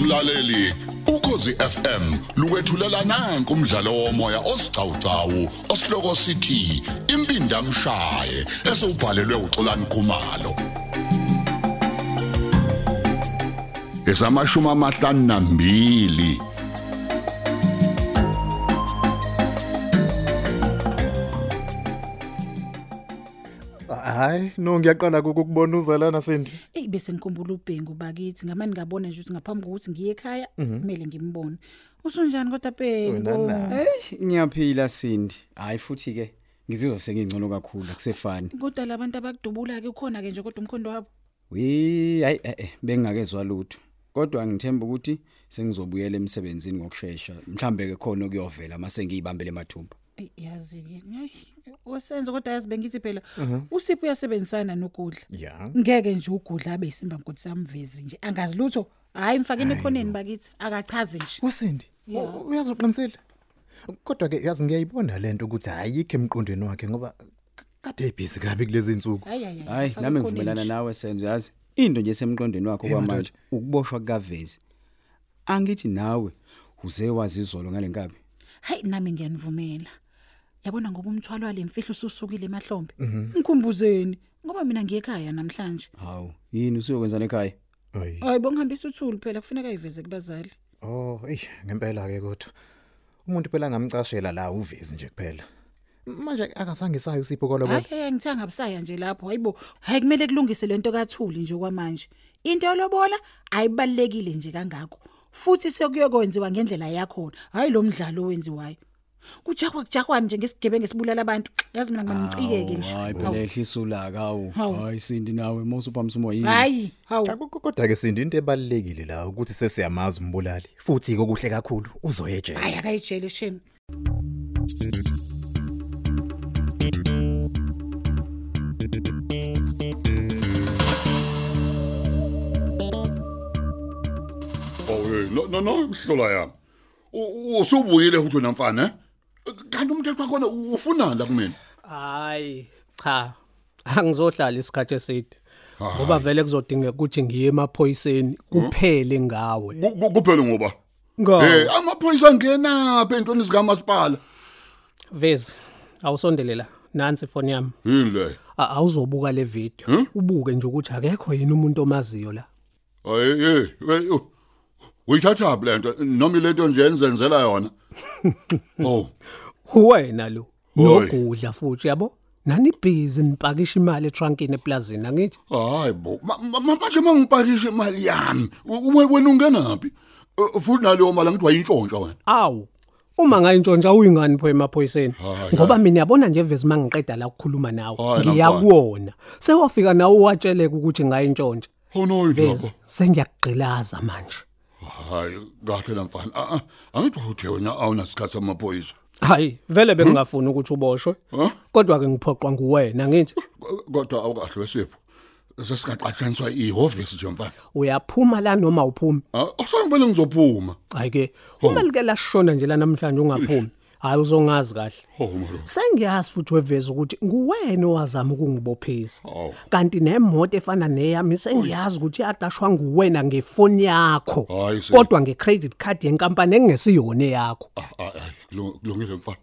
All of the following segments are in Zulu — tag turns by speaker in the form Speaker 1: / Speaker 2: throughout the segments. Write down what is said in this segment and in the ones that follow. Speaker 1: mlaleli ukhosi FM lukwethulela nanku umdlalo womoya osiqhawqhawo osihloko sithi impindi amshaye esubhalelwe uXolani Khumalo esamashuma amahlanu nambili
Speaker 2: hayi no ngiyaqala ukukubona uzalana sindi
Speaker 3: Ey bese ngikhumbula uBhengu bakithi ngamani ngabona nje ukuthi ngaphambi kokuthi ngiye ekhaya kumele ngimbone. Usunjani kodwa Bhengu?
Speaker 2: Wena
Speaker 4: Hey, ngiyaphila Sindi. Hayi futhi ke ngizizwa sengingcono kakhulu akusefani.
Speaker 3: Kodwa labantu abakudubula ke ukhona ke nje kodwa umkhondo wabo.
Speaker 4: Wi, hayi eh eh bengingakezwa lutho. Kodwa ngithemba ukuthi sengizobuyela emsebenzini ngokusheshsha. Mhlambe ke khona okuyovela mase ngiyibambele mathumba.
Speaker 3: Ey yazi ke. Wasenza kodwa yazi bengithi phela usipho uyasebenzisana nokudla.
Speaker 2: ya
Speaker 3: Ngeke nje ugudla abe isimba mgodi samvezi nje angazilutho. Hayi mfakeni ekhoneni bakithi akachaze nje.
Speaker 2: usindi
Speaker 3: Ya.
Speaker 2: u- uyazi uqinisile kodwa ke yazi ngiyayibona lento ukuthi ayikho emqondweni wakhe ngoba k- kade ebhizi kabi kulezi insuku
Speaker 3: Hayi hayi.
Speaker 4: Hayi
Speaker 3: mfake
Speaker 4: nami
Speaker 3: ekhoneni
Speaker 4: ngivumelana
Speaker 3: nje.
Speaker 4: nawe Senzo yazi. Into nje semqondweni wakho
Speaker 2: Eh,
Speaker 4: kwamanje ukuboshwa kukavezi. Angithi nawe uze wazizolo ngalenkabi.
Speaker 3: Hayi nami ngiyanivumela. Yabona ngoba umthwalo walemfihlo ususukile emahlombe. Ngikhumbuzeni ngoba mina ngiye ekhaya namhlanje.
Speaker 4: Hawu, yini usuyokwenzana ekhaya?
Speaker 2: hayi
Speaker 3: Hayi bongihambisa uthuli phela kufuneka iveze kubazali.
Speaker 2: oh ey ngempela ke kodwa umuntu phela ngamcashela la uvezi nje kuphela manje akasangisayo usipho kwalobo
Speaker 3: Hayi hey ngithanga busaya nje lapho hayibo. Hayi kumele kulungise lento kaThuli nje kwamanje. Into yolobola ayibalekile nje kangako. Futhi sekuyokwenziwa ngendlela yakho. Hayi lo mdlalo owenziwayo. Kujahwa kujahwani nje ngesigebengu esibulala abantu. Yazi mina ngimangicikeke nje.
Speaker 4: Oh, Hayi
Speaker 3: Hawu.
Speaker 4: phela ehlisa ulaka awu.
Speaker 3: Hawu.
Speaker 4: Hayi Sindi nawe mawusuphamisa umoya yini?
Speaker 3: Hayi, hawu.
Speaker 2: Cha, ko- kodwa ke sindi into ebalekile la ukuthi sesiyamazi umbulali futhi kokuhle kakhulu uzoyejela
Speaker 3: Hayi akayijele shame.
Speaker 1: owe no no no mhlola yami U- u- usubuyile futhi wena mfana eh? kanti umthetho wakho ufunani la kumina
Speaker 5: Hayi cha angizohlala isikhathi eside
Speaker 1: Hayi.
Speaker 5: ngoba vele kuzodingeka ukuthi ngiye emaphoyiseni kuphele ngawe
Speaker 1: Ku- ku- kuphela ngoba
Speaker 5: ngawe
Speaker 1: eh amaphoyisa angena phe intweni zikamasipala
Speaker 5: vezi awusondelela nansi ifoni yami
Speaker 1: yini le
Speaker 5: A- awuzobuka le video ubuke nje ukuthi akekho yini umuntu omaziyo la
Speaker 1: Eh, hey hey oh. uyithatha phi lento noma ilento nje enizenzela yona oh
Speaker 5: wena lo
Speaker 1: Hhoyi.
Speaker 5: nogudla futhi yabo nani busy nipakisha imali etrunkini eplazini angithi
Speaker 1: hayi bo Ma- ma- ma- manje mangipakisha imali yami u- we- wena ungenaphi Eh, futhi naleyo mali ngithi wayintshontsha wena
Speaker 5: awu uma ngayintshontsha uyingani pho emaphoyiseni
Speaker 1: Hayi,
Speaker 5: ngoba mina yabona nje vezi mangiqeda la ukukhuluma nawe
Speaker 1: Hayi, namfana.
Speaker 5: ngiyakuwona sewafika nawe uwatsheleke ukuthi ngayintshontsha
Speaker 1: honoyi
Speaker 5: vezi
Speaker 1: baba
Speaker 5: sengiyakugqilaza manje
Speaker 1: hayi kahle lamfana Ah, ah, angithi uthe wena awunasikhathi samaphoyisa
Speaker 5: hayi vele bengingafuni ukuthi uboshwe
Speaker 1: Huh?
Speaker 5: kodwa ke ngiphoqwa nguwena ngithi
Speaker 1: Ko- kodwa awukahle wesipho sesingaqatshaniswa ihhovisi nje mfana
Speaker 5: uyaphuma la noma uphumi
Speaker 1: Ah, asangibele ngizophuma
Speaker 5: hayi ke uma like lashona nje la namhlanje ungaphumi hayi uzongazi kahle
Speaker 1: oh malo
Speaker 5: sengiyazi futhi weveza ukuthi nguwena owazama ukungibophisa
Speaker 1: Hawu.
Speaker 5: kanti nemoto efana neyami sengiyazi ukuthi yaqashwa nguwena ngefoni yakho
Speaker 1: Hayi, se-
Speaker 5: kodwa ngecredit card yenkampani engesiyona yakho
Speaker 1: Ah, ah, ah, kulung- kulungile mfana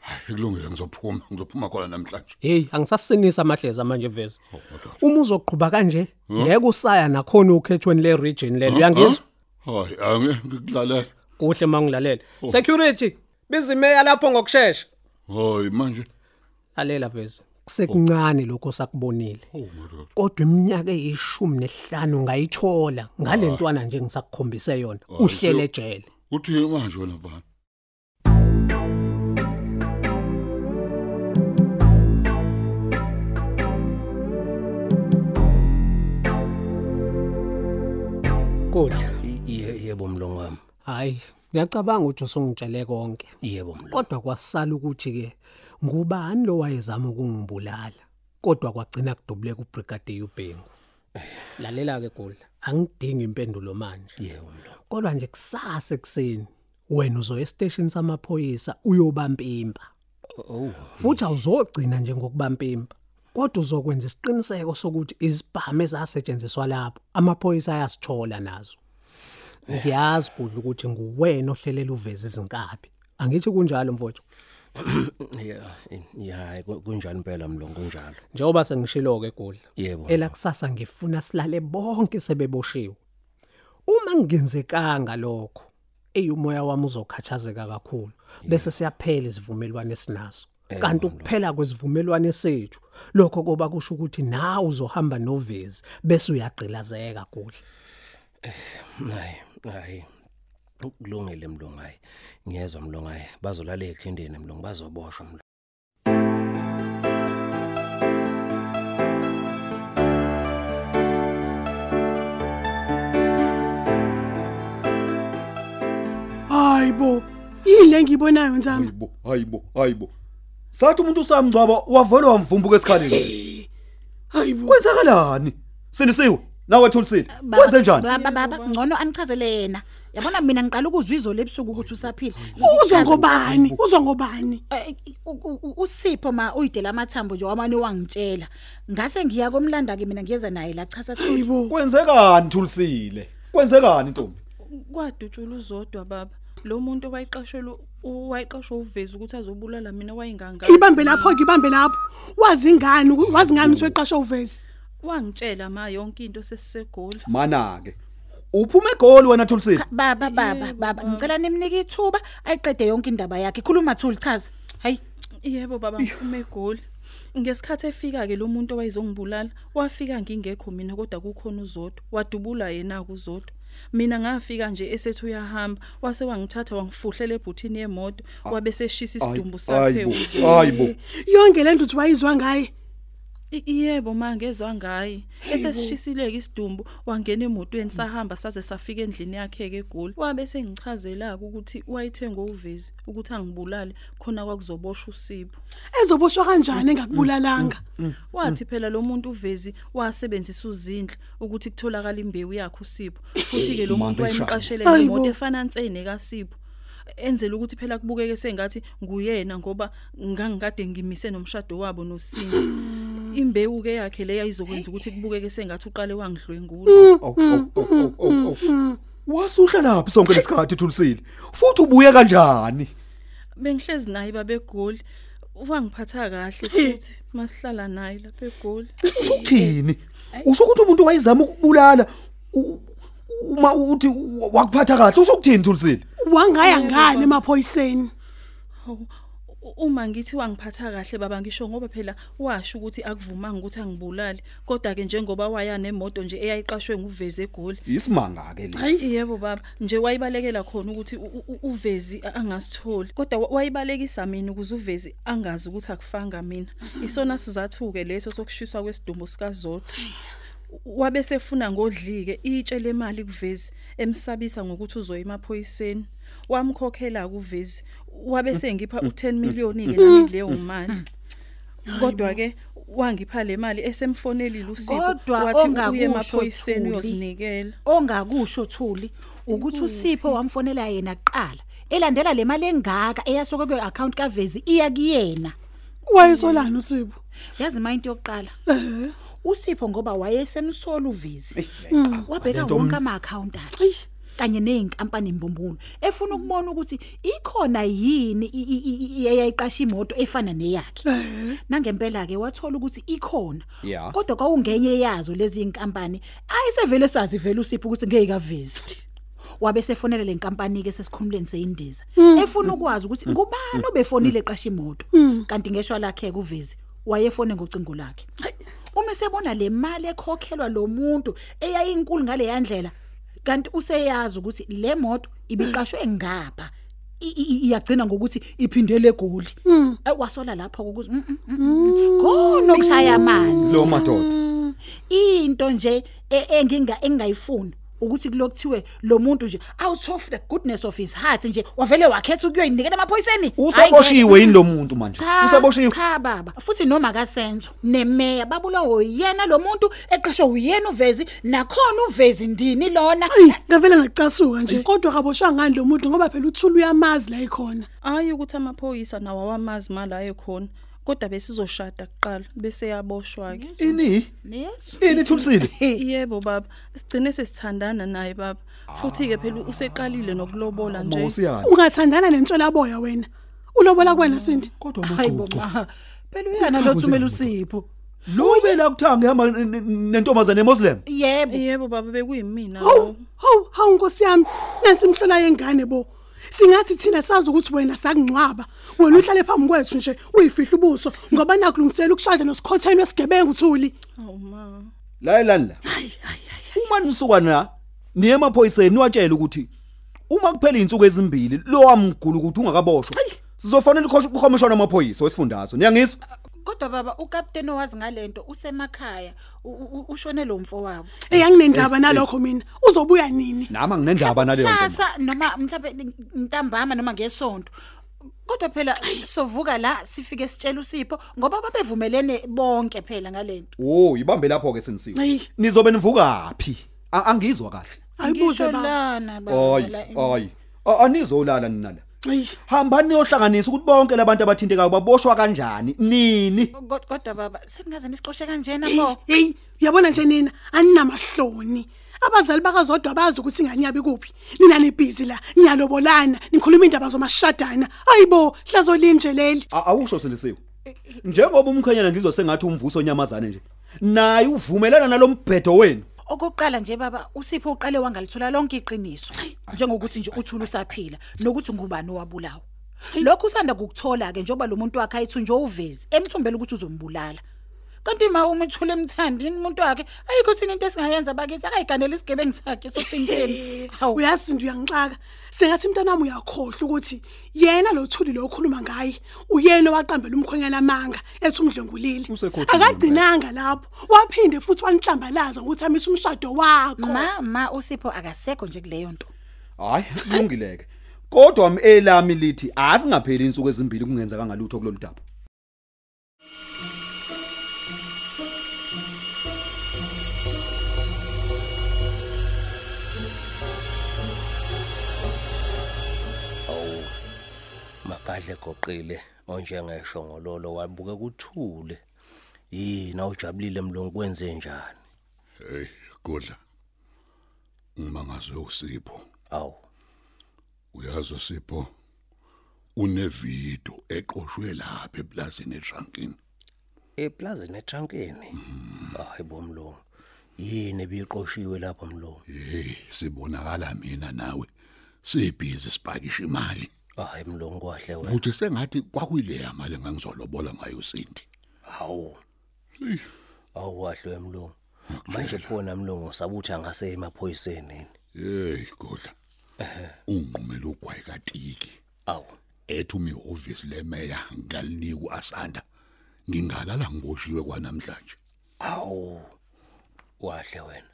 Speaker 1: Hayi, kulungile ngizophuma ngizophuma khona namhlanje
Speaker 5: heyi angisasinisa amahleza manje veza
Speaker 1: madoda.
Speaker 5: uma uzoqhuba kanje ngeke usaya nakhona okhethweni le-region
Speaker 1: Hmm,
Speaker 5: lelo uyangizwa
Speaker 1: hayi ange ngikulalela
Speaker 5: kuhle uma ngilalela security bizimeya lapho ngokushesha
Speaker 1: hayi manje
Speaker 5: lalela veza kusekuncane lokho sakubonile
Speaker 1: oh madoda
Speaker 5: kodwa iminyaka eyishumi nehlanu ngayithola ngalentwana nje ngisakukhombise yona
Speaker 1: Hayi,
Speaker 5: uhlele
Speaker 1: so-
Speaker 5: ejele
Speaker 1: uthini manje wena mfana
Speaker 5: kodwa
Speaker 6: yebo mlungu wami
Speaker 5: hayi ngiyacabanga ukuthi usungitshele konke
Speaker 6: yebo mlungu
Speaker 5: kodwa kwasala ukuthi ke ngubani lo wayezama ukungibulala kodwa kwagcina kudubuleka ubrigade yubhengu lalela ke gudla angidingi impendulo manje
Speaker 6: yebo mlungu
Speaker 5: kodwa nje kusasa ekseni wena uzoya esiteshini samaphoyisa uyobampimpa
Speaker 6: oh
Speaker 5: futhi awuzogcina nje ngokubampimpa kodwa uzokwenza isiqiniseko sokuthi izibhamu ezasetshenziswa lapho amaphoyisa ayasithola nazo Ngiyazi Gudla ukuthi nguwena ohlelela uveze izinkabi. Angithi kunjalo mfowethu.
Speaker 6: yeah yeah ku- kunjalo impela mlungu kunjalo
Speaker 5: Njengoba sengishilo ke Gudla.
Speaker 6: Yebo.
Speaker 5: Elakusasa ngifuna silale bonke sebeboshiwe. Uma ngingenzekanga lokho, eyumoya wami uzokhathazeka kakhulu. Bese siyaphela isivumelwano esinaso.
Speaker 6: Eh,
Speaker 5: Kanti ukuphela kwesivumelwano sethu, lokho koba kusho ukuthi nawe uzohamba novezi bese uyagqilazeka Gudla.
Speaker 6: hayi hayi kulungile mlungu hayi ngiyezwa mlungu hayi bazolala ekhendeni mlungu bazoboshwa mlungu
Speaker 7: Hayibo, yini le ngiyibonayo Nzama?
Speaker 8: hayibo hayibo hayibo sathi umuntu usamgcwaba wavele wamvumbuka esikhaleni
Speaker 7: Hayibo.
Speaker 8: kwenzakalani sinisiwe nawe thulisile kwenze njani
Speaker 3: Baba baba ngcono anichazele yena. Yabona mina ngiqala ukuzwa izolo ebusuku ukuthi usaphila.
Speaker 7: Uzwa ngobani? Uzwa ngobani?
Speaker 3: Eh, u- u- u- usipho ma uyidela amathambo nje wamane wangitshela ngase ngiya komlanda ke mina ngiyeza naye la cha sathi
Speaker 7: Hayibo.
Speaker 8: kwenzekani thulisile kwenzekani ntombi
Speaker 9: kwadutshula uzodwa baba lo muntu owayiqashelwe owayiqashwe uvezi ukuthi azobulala mina wayengangani
Speaker 7: Ibambe lapho, ngibambe lapho. Wazi ingane, wazi ingane useqasha uvezi.
Speaker 9: wangitshela ma yonke into sesisegoli
Speaker 8: mana ke uphume egoli wena thulisile
Speaker 3: baba baba baba ngicela nimnike ithuba ayiqede yonke indaba yakhe khuluma thuli chaza hayi
Speaker 9: yebo baba ngiphume egoli ngesikhathi efika ke lo muntu owayezongibulala wafika ngingekho mina kodwa kukhona uzodwa wadubula yena kuzodwa mina ngafika nje esethu uyahamba wase wangithatha wangifuhlela ebhuthini yemoto wabe seshisa isidumbu sakhe
Speaker 8: hayibo
Speaker 9: uzodwa.
Speaker 8: hayibo
Speaker 7: Yonke le nduthu wayizwa ngaye.
Speaker 9: I- Yebo mangezwa ngaye esesishisileke isidumbu wangena emotweni sahamba saze safika endlini yakhe ke egoli wabe sengichazela ukuthi wayithenga uvezi ukuthi angibulale khona kwakuzoboshwa usipho
Speaker 7: Ezoboshwa kanjani engakubulalanga?
Speaker 9: wathi phela lo muntu uvezi wasebenzisa uzinhle ukuthi kutholakala imbewu yakhe usipho futhi ke lo muntu wayemqashele
Speaker 7: Hayibo.
Speaker 9: imoto efanansene kaSipho enzela ukuthi phela kubukeke sengathi nguyena ngoba ngangikade ngimise nomshado wabo noSini imbewu ke yakhe leya izokwenza ukuthi kubukeke sengathi uqale wangidlwengula
Speaker 8: Awu, awu, awu, awu, awu. wasuhla laphi sonke lesikhathi thulisile futhi ubuye kanjani
Speaker 9: bengihlezi naye babegoli wangiphatha kahle futhi masihlala naye lapha egoli
Speaker 8: usho ukuthini usho ukuthi umuntu wayezama ukubulala u- uma uthi u- wakuphatha kahle usho ukuthini thulisile
Speaker 7: Wangaya ngane emaphoyiseni.
Speaker 9: Hawu, u- uma ngithi wangiphatha kahle baba ngisho ngoba phela washo ukuthi akuvumanga ukuthi angibulale kodwa ke njengoba waya nemoto nje eyayiqashwe nguveze egoli
Speaker 8: isimanga ke lesi
Speaker 9: Hayi yebo baba nje wayibalekela khona ukuthi u- u- uvezi a- angasitholi kodwa wa- wayibalekisa mina ukuze uvezi angazi ukuthi akufanga mina isona sizathuke leso sokushiswa kwesidumbu sikazolo wabe sefuna ngodlike itshele imali kuvezi emsabisa ngokuthi uzoya emaphoyiseni wamkhokhela kuvezi wabe sengipha u10 million ke nami leyo mali kodwa ke wangipha le mali esemfonelile usipho
Speaker 3: Kodwa
Speaker 9: wathi uye
Speaker 3: ongakusho
Speaker 9: emaphoyiseni
Speaker 3: Thuli.
Speaker 9: uyozinikela
Speaker 3: ongakusho thuli ukuthi usipho wamfonela yena kuqala elandela le mali engaka eyasuka kwe account kaVezi iya kuyena
Speaker 7: Wayesolana uSipho.
Speaker 3: yazi manje into yokuqala usipho ngoba wayesemsola uvezi wabheka wonke ama account akhe kanye nezinkampani imbombulo efuna ukubona ukuthi ikhona yini i- i- i- i- eyayiqasha imoto efana neyakhe nangempela ke wathola ukuthi ikhona
Speaker 8: Ya.
Speaker 3: kodwa kwawungenye yazo lezi inkampani ayisevele sazi vele usipho ukuthi ngeke kavezi wabe sefonela le nkampani ke sesikhumuleni seyindiza efuna ukwazi ukuthi ngubani obefonile eqasha imoto kanti ngeshwa lakhe kuvezi wayefone ngocingo lakhe uma sebona le mali ekhokhelwa lo muntu eyayinkulu ngale yandlela kanti useyazi ukuthi le moto ibiqashwe ngapha i- i- i- iyagcina ngokuthi iphindele egoli Eh, wasola lapho ukuthi mm, mm, mm, mm. khona ukushaya amanzi
Speaker 8: lo madoda
Speaker 3: into nje e- enginga engayifuni ukuthi kulokuthiwe lo muntu nje out of the goodness of his heart nje wavele wakhetha ukuyoyinikela emaphoyiseni
Speaker 8: useboshiwe yini lo muntu manje
Speaker 3: Cha,
Speaker 8: useboshiwe
Speaker 3: cha baba futhi noma kasenzo nemeya babulawo yena lo muntu eqeshwe uyena uvezi nakhona uvezi ndini lona
Speaker 7: Ayi, ngavela ngacasuka nje. Kodwa kaboshwa ngani lo muntu ngoba phela uthula uyamazi la ikhona.
Speaker 9: hayi ukuthi amaphoyisa nawo awamazi imali ayo khona kodwa besizoshada kuqala bese yaboshwa ke
Speaker 8: ini
Speaker 3: Yes.
Speaker 8: ini Thulsile
Speaker 9: yebo baba sigcine sesithandana naye baba futhi ke phela useqalile nokulobola nje
Speaker 8: mawusiyana
Speaker 7: ungathandana nentshwelaboya wena ulobola kuwena sindi
Speaker 8: kodwa
Speaker 3: Hayi
Speaker 8: uMadudu
Speaker 3: baba. Phela uyena lo Thumela uSipho.
Speaker 8: lo bela kuthanga ehamba n- n- nentombazane eMuslim
Speaker 3: Yebo.
Speaker 9: yebo baba bekuyimina
Speaker 7: hawu
Speaker 9: lo
Speaker 7: hawu hawu nkosi yami nansi imhlola yengane bo singathi thina sazi ukuthi wena sakungcwaba wena uhlale phambi kwethu nje uyifihle ubuso ngoba nakulungisela ukushada nosikhothelo esigebengu thuli
Speaker 9: awuma
Speaker 8: layilandla la uma nisuka na niye emaphoyiseni niwatshele ukuthi uma kuphela izinsuku ezimbili lo wamgulu ukuthi ungakaboshwa sizofanele ukukhomishana amaphoyisa wesifundazwe niyangizwa
Speaker 7: Ah.
Speaker 3: Kodwa baba ukapteni owazi ngalento usemakhaya u- u- u- ushone lo mfo wabo.
Speaker 7: eyanginendaba nalokho mina uzobuya nini
Speaker 8: nami anginendaba naleyo nto
Speaker 3: Sasa noma mhlawumbe ntambama noma ngesonto. Kodwa phela sovuka la sifike sitshela uSipho ngoba babevumelene bonke phela ngalento.
Speaker 8: oh ibambe lapho ke senisiwe
Speaker 7: hayi
Speaker 8: nizobe nivukapi A- angizwa kahle
Speaker 7: ayibuze
Speaker 3: Ngisho
Speaker 7: baba
Speaker 3: lana baba la
Speaker 8: ayi ayi A- anizolala nina la
Speaker 7: hayi
Speaker 8: hambani niyohlanganisa ukuthi bonke labantu abathintekayo baboshwa kanjani nini
Speaker 3: Kod- kodwa baba seningaze nisixoshe kanjena
Speaker 7: Hey,
Speaker 3: pho
Speaker 7: hey uyabona nje nina aninamahloni abazali bakazodwa bazi ukuthi ingane yabi kuphi nina nibhizi la niyalobolana nikhuluma indaba zomashadana ayibo hlazo linje leli
Speaker 8: A- awusho sindisiwe njengoba umkhwenyana ngizwe sengathi umvuso onyamazane nje naye uvumelana nalombhedo wenu
Speaker 3: okokuqala nje baba usipho uqale wangalithola lonke iqiniso njengokuthi nje uthula usaphila nokuthi ngubani owabulawa lokhu usanda kukuthola ke njengoba lo muntu wakhe ayithunjwe uvezi emthumbela ukuthi uzombulala kanti ma uma ethule emthandini umuntu wakhe ayikho thina into esingayenza bakithi akayiganele isigebengu sakhe sothingitheni hawu
Speaker 7: uyasinda uyangixaka sengathi mntanami uyakhohlwa ukuthi yena lo thuli lo okhuluma ngaye uyena owaqambela umkhwenyana amanga ethi umdlengulile
Speaker 8: Usekhotheme
Speaker 7: akagcinanga lapho waphinde futhi wanihlambalaza ngokuthi amise umshado wakho
Speaker 3: ma ma usipho akasekho nje kuleyo nto
Speaker 8: hayi kulungileke kodwa elami lithi asingapheli insuku ezimbili kungenzeka ngalutho kulolu daba
Speaker 6: magadle Oh, egoqile onjengeshongololo wabuke kuthule yini awujabulile mlungu kwenze njani
Speaker 1: Hey, kodla. Ngimangazwe uSipho.
Speaker 6: awu
Speaker 1: Uyazi uSipho unevido eqoshwe lapha eplazini eJankini.
Speaker 6: eplazini etrankeni hayi bomlungu yini ebiyiqoshiwe lapho mlungu
Speaker 1: Hey, sibonakala mina nawe. Sibhizi sipakisha imali.
Speaker 6: hayi mlungu kwahle wena
Speaker 1: Futhi sengathi kwakuyileya mali engangizolobola ngayo uSindi.
Speaker 6: hawu
Speaker 1: Eyi.
Speaker 6: awu kahle mlungu manje phona mlungu usabuthi angase emaphoyiseni yini
Speaker 1: Hey, kodla. Unqumela ugwayi kaTiki.
Speaker 6: awu
Speaker 1: ethi umihhovisi lemeya ngaliniki uAsanda ngingalala ngiboshiwe kwanamhlanje
Speaker 6: awu wahle wena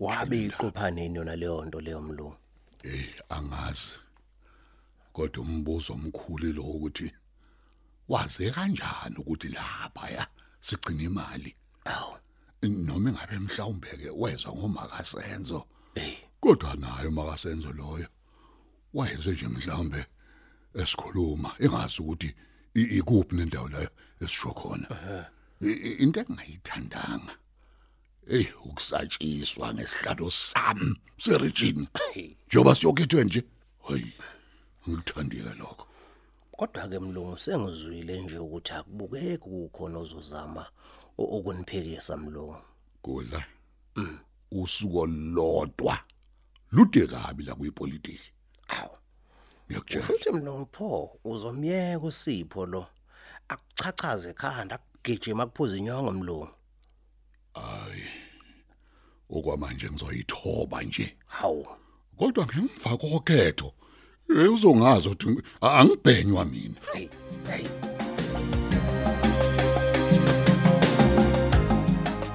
Speaker 6: wabe iqophaneni yona leyo nto leyo mlungu
Speaker 1: eh angazi kodwa umbuzo omkhulu lo ukuthi waze kanjani ukuthi lapha ya sigcina imali
Speaker 6: awu
Speaker 1: noma ngabe mhlawumbe ke wezwa ngomakasenzo
Speaker 6: hey
Speaker 1: kodwa naye umakasenzo loyo wayezwe nje mhlawumbe esikhuluma engazi ukuthi i- ikuphi nendawo la esisho khona I- i- into engayithandanga hey ukusatshiswa ngesihlalo sami seregine njoba siyokhethwe nje hayi ngithandile lokho
Speaker 6: kodwa ke mlungu sengizwile nje ukuthi akubukeki kukhona ozozama u- ukuniphekisa mlungu
Speaker 1: kula usuku lodwa lude kabi la kuyipolitiki
Speaker 6: awu
Speaker 1: ngiyakutshela
Speaker 6: futhi mlungu pho uzomyeka usipho lo akuchachaze ekhanda akugijima akuphuza inyongo mlungu
Speaker 1: hayi okwamanje ngizoyithoba nje
Speaker 6: hawu
Speaker 1: kodwa ngemva kokhetho eh, uzongazi ukuthi a- angibhenywa mina
Speaker 6: hey hey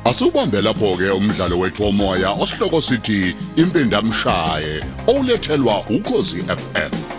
Speaker 1: Asubambe lapho ke umdlalo wethu womoya osihloko sithi impindamshaye olethelwa ukozi FM